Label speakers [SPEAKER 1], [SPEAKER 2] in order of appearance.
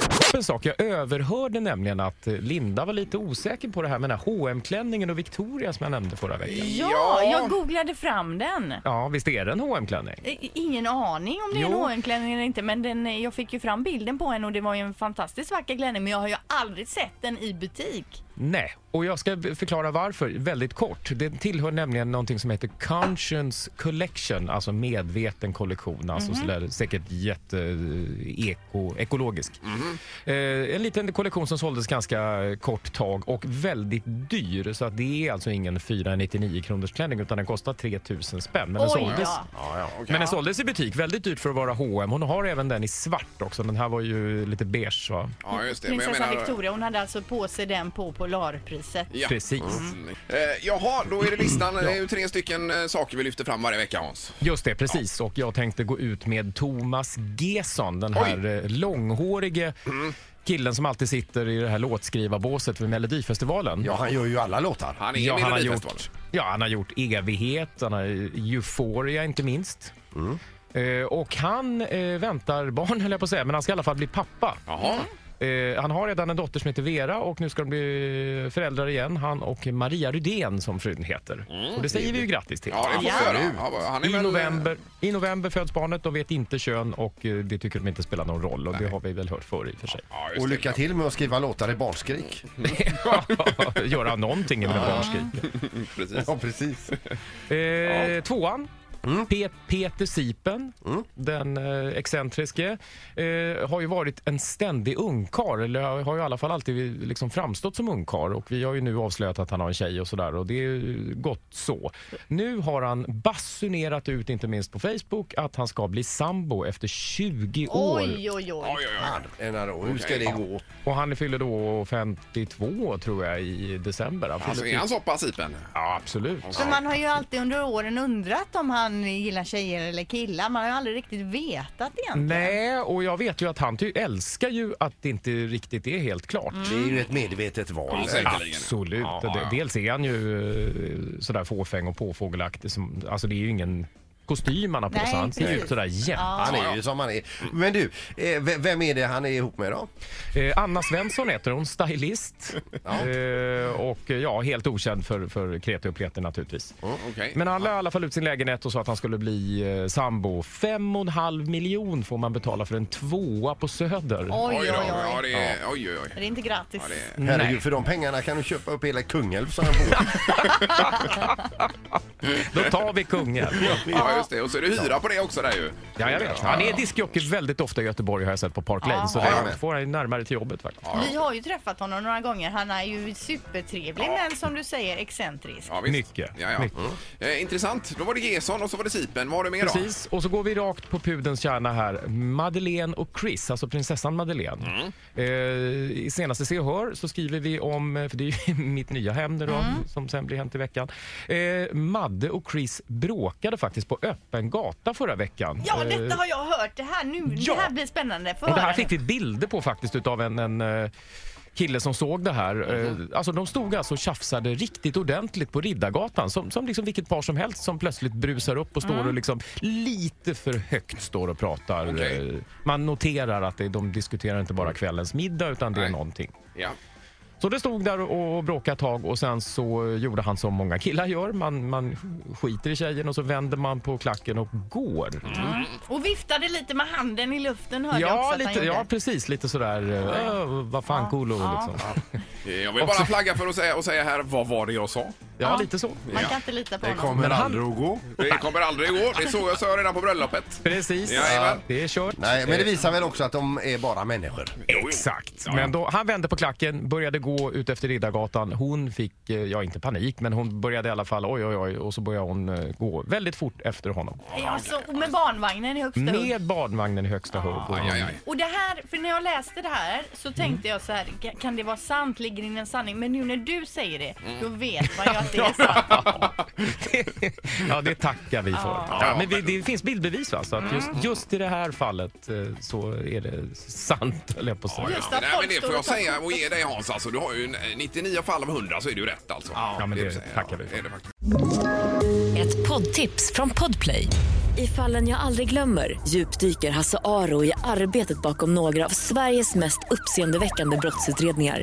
[SPEAKER 1] upp en sak. Jag överhörde nämligen att Linda var lite osäker på det här med den här hm klänningen och Victoria som jag nämnde förra veckan.
[SPEAKER 2] Ja, jag googlade fram den.
[SPEAKER 1] Ja, visst är det en hm klänning
[SPEAKER 2] I- Ingen aning om det är en
[SPEAKER 1] Jo.
[SPEAKER 2] H&M-klänning eller inte, men den, eh, jag fick ju fram bilden på henne och det var ju en fantastiskt vacker klänning, men jag har ju aldrig sett den i butik.
[SPEAKER 1] Nej, och jag ska förklara varför väldigt kort. Det tillhör nämligen någonting som heter Conscience Collection, alltså medveten kollektion, alltså
[SPEAKER 2] Mhm.
[SPEAKER 1] sådär, säkert jätte eh, eko, ekologisk.
[SPEAKER 2] Mhm.
[SPEAKER 1] Eh, en liten kollektion som såldes ganska kort tag och väldigt dyr, så att det är alltså ingen 499 kronors klänning utan den kostar 3000 spänn. Men den
[SPEAKER 2] Oj,
[SPEAKER 1] såldes
[SPEAKER 2] ja.
[SPEAKER 3] Ja, ja, okej.
[SPEAKER 1] men den såldes i butik, väldigt dyrt för att vara H&M. Hon har även den i svart också. Den här var ju lite beige va?
[SPEAKER 3] ja, just det. Men jag
[SPEAKER 2] Prinsessan
[SPEAKER 3] menar-
[SPEAKER 2] Victoria, hon hade alltså på sig den på Polarpriset.
[SPEAKER 3] Ja.
[SPEAKER 1] Precis.
[SPEAKER 3] Mm. Eh, jaha, då är det listan. Det är ju tre stycken eh, saker vi lyfter fram varje vecka, Hans.
[SPEAKER 1] Just det, precis. Och jag tänkte gå ut med Thomas Gesson, den här eh, långhårige killen som alltid sitter i det här låtskrivarbåset vid Melodifestivalen.
[SPEAKER 4] Ja, han gör ju alla låtar.
[SPEAKER 3] Han är
[SPEAKER 1] Ja, han,
[SPEAKER 3] i
[SPEAKER 1] har
[SPEAKER 3] Melodifestivalen.
[SPEAKER 1] gjort, ja, han har gjort Evighet, han har eh, Euphoria inte minst. Eh, och han eh, väntar barn, höll jag på att säga, men han ska i alla fall bli pappa.
[SPEAKER 3] Jaha.
[SPEAKER 1] Eh, han har redan en dotter som heter Vera och nu ska de bli föräldrar igen. Han och Maria Rydén som frun heter. och det säger vi ju grattis till.
[SPEAKER 3] Ja, det får vi
[SPEAKER 2] Ja.
[SPEAKER 3] göra. Han var- Han är
[SPEAKER 1] I
[SPEAKER 3] väl-
[SPEAKER 1] november, I november föds barnet, de vet inte kön och eh, det tycker de inte spelar någon roll. Och det har vi väl hört förr i och för sig.
[SPEAKER 3] Ja, just
[SPEAKER 4] Och
[SPEAKER 3] det.
[SPEAKER 4] lycka till med att skriva låtar i barnskrik.
[SPEAKER 1] Göra någonting med barnskrik.
[SPEAKER 3] Precis.
[SPEAKER 4] Ja, precis.
[SPEAKER 1] Eh, Tvåan. Pe- Peter Sipen, den eh, excentriske, eh, har ju varit en ständig ungkar eller har har ju i alla fall alltid liksom framstått som ungkar och vi har ju nu avslöjat att han har en tjej och sådär och det är ju gott så. Nu har han basunerat ut, inte minst på Facebook, att han ska bli sambo efter 20 år.
[SPEAKER 2] Oj, oj, oj.
[SPEAKER 3] Oj, oj, oj.
[SPEAKER 4] Enar, och hur ska det gå?
[SPEAKER 1] Och han fyller då 52 tror jag i december. Han fyller
[SPEAKER 3] Alltså, är han så pass ipen?
[SPEAKER 1] Ja, absolut.
[SPEAKER 2] För man har ju alltid under åren undrat om han gillar tjejer eller killar. Man har ju aldrig riktigt vetat egentligen.
[SPEAKER 1] Nej, och jag vet ju att han ty- älskar ju att det inte riktigt är helt klart.
[SPEAKER 4] Det är ju ett medvetet val.
[SPEAKER 3] Ja, säkerligen.
[SPEAKER 1] Absolut.
[SPEAKER 3] Ja, Mm. ja, ja.
[SPEAKER 1] D- Dels är han ju eh, sådär fåfäng och påfågelaktig. Som, alltså det är ju ingen kostym han har på sig.
[SPEAKER 2] Nej,
[SPEAKER 1] Han ser ut
[SPEAKER 2] precis.
[SPEAKER 1] sådär jämt.
[SPEAKER 4] Han är ju som han är. Men du, eh, v- vem är det han är ihop med då?
[SPEAKER 1] Eh, Anna Svensson heter hon, stylist. Eh, och eh, ja, helt okänd för, för kreti och pleti naturligtvis.
[SPEAKER 3] Okej.
[SPEAKER 1] Men han la i alla fall ut sin lägenhet och sa att han skulle bli eh, sambo. Fem och en halv miljon får man betala för en tvåa på Söder.
[SPEAKER 2] Oj,
[SPEAKER 3] Oj,
[SPEAKER 2] oj,
[SPEAKER 3] då.
[SPEAKER 2] oj.
[SPEAKER 3] Ja, det är... Oj, oj, oj.
[SPEAKER 2] Det är inte gratis.
[SPEAKER 3] Ja, det är...
[SPEAKER 4] Herregud, för de pengarna kan du köpa upp hela Kungälv så han får.
[SPEAKER 1] Då tar vi kungen.
[SPEAKER 3] Ja, just det. Och så är det hyra på det också där ju.
[SPEAKER 1] Ja, jag vet. Han är diskjockey väldigt ofta i Göteborg har jag sett på Park Lane. Så
[SPEAKER 4] Ja, jag
[SPEAKER 1] det
[SPEAKER 4] med.
[SPEAKER 1] får han ju närmare till jobbet faktiskt.
[SPEAKER 2] Vi har ju träffat honom några gånger. Han är ju supertrevlig, men som du säger, excentrisk.
[SPEAKER 3] Ja, visst.
[SPEAKER 1] Mycket.
[SPEAKER 3] Ja, ja.
[SPEAKER 1] Mycket.
[SPEAKER 3] Eh, intressant. Då var det Gesson och så var det Sipen. Vad har du mer då?
[SPEAKER 1] Precis, och så går vi rakt på pudens kärna här. Madeleine och Chris, alltså prinsessan Madeleine. Eh, I senaste Se och Hör så skriver vi om, eh, för det är ju mitt nya hem nu då, som sen blir hänt i veckan. Eh, Madde och Chris bråkade faktiskt på öppen gata förra veckan.
[SPEAKER 2] Ja,
[SPEAKER 1] Eh,
[SPEAKER 2] detta har jag hört. Det här, nu,
[SPEAKER 1] Ja.
[SPEAKER 2] det här blir spännande. Få
[SPEAKER 1] Och det
[SPEAKER 2] höra
[SPEAKER 1] här
[SPEAKER 2] nu.
[SPEAKER 1] fick vi bilder på faktiskt utav en, en eh, kille som såg det här.
[SPEAKER 3] Mhm.
[SPEAKER 1] Eh, Alltså de stod alltså och tjafsade riktigt ordentligt på Riddargatan som, som liksom vilket par som helst som plötsligt brusar upp och står
[SPEAKER 3] Mm.
[SPEAKER 1] och liksom lite för högt står och pratar.
[SPEAKER 3] Okej.
[SPEAKER 1] Eh, Man noterar att det, de diskuterar inte bara kvällens middag utan det är
[SPEAKER 3] Nej.
[SPEAKER 1] någonting.
[SPEAKER 3] Ja.
[SPEAKER 1] Så det stod där och bråkade ett tag och sen så gjorde han som många killar gör. Man, man skiter i tjejen och så vänder man på klacken och går.
[SPEAKER 3] Mm.
[SPEAKER 2] Och viftade lite med handen i luften hörde jag också
[SPEAKER 1] Ja,
[SPEAKER 2] att han
[SPEAKER 1] lite,
[SPEAKER 2] gjorde.
[SPEAKER 1] ja, precis. Lite sådär... Äh, vad fan, Kolo, liksom.
[SPEAKER 3] Eh, Jag vill bara flagga för att säga, och säga här, vad var det jag sa?
[SPEAKER 1] Ja,
[SPEAKER 2] Ja.
[SPEAKER 1] lite så.
[SPEAKER 2] Man
[SPEAKER 3] Ja.
[SPEAKER 2] kan inte lita på
[SPEAKER 4] Det
[SPEAKER 2] honom.
[SPEAKER 4] kommer
[SPEAKER 1] Men han-
[SPEAKER 4] aldrig att gå.
[SPEAKER 3] Det kommer aldrig gå. Det såg jag, så jag redan på bröllopet.
[SPEAKER 1] Precis.
[SPEAKER 3] Jajamän.
[SPEAKER 1] det är kört.
[SPEAKER 4] Nej, men det visar väl också att de är bara människor.
[SPEAKER 1] Exakt. Men då, han vände på klacken, började gå ut efter Riddargatan. Hon fick, eh, ja inte panik, men hon började i alla fall oj, oj, oj. Och så började hon eh, gå väldigt fort efter honom.
[SPEAKER 2] Ja, så, och med barnvagnen i högsta hugg.
[SPEAKER 1] Med barnvagnen i högsta hugg.
[SPEAKER 3] Aj, aj, aj.
[SPEAKER 2] Och det här, för när jag läste det här så
[SPEAKER 1] Mm.
[SPEAKER 2] tänkte jag så här, "Ka- kan det vara sant? Ligger det in en sanning? Men nu när du säger det, då
[SPEAKER 1] Mm.
[SPEAKER 2] vet man ju att det är sant.
[SPEAKER 1] ja, det tackar vi för. Ja, men vi, det finns bildbevis va? Så att just,
[SPEAKER 2] Mm.
[SPEAKER 1] just i det här fallet eh, så är det sant, höll jag på att säga.
[SPEAKER 2] Just
[SPEAKER 3] Ja,
[SPEAKER 2] att
[SPEAKER 3] Nej,
[SPEAKER 2] folk
[SPEAKER 3] men det
[SPEAKER 2] står
[SPEAKER 3] får jag
[SPEAKER 2] och tar
[SPEAKER 3] säga
[SPEAKER 2] kort.
[SPEAKER 3] och ge dig Hans. Alltså, du har ju en- 99 fall av 100 så är det ju rätt alltså.
[SPEAKER 1] Ja, men det
[SPEAKER 3] du säger.
[SPEAKER 1] tackar vi
[SPEAKER 3] Ja,
[SPEAKER 1] för.
[SPEAKER 3] är det faktiskt.
[SPEAKER 5] Ett poddtips från Podplay. I fallen jag aldrig glömmer djupdyker Hasse Aro i arbetet bakom några av Sveriges mest uppseendeväckande brottsutredningar.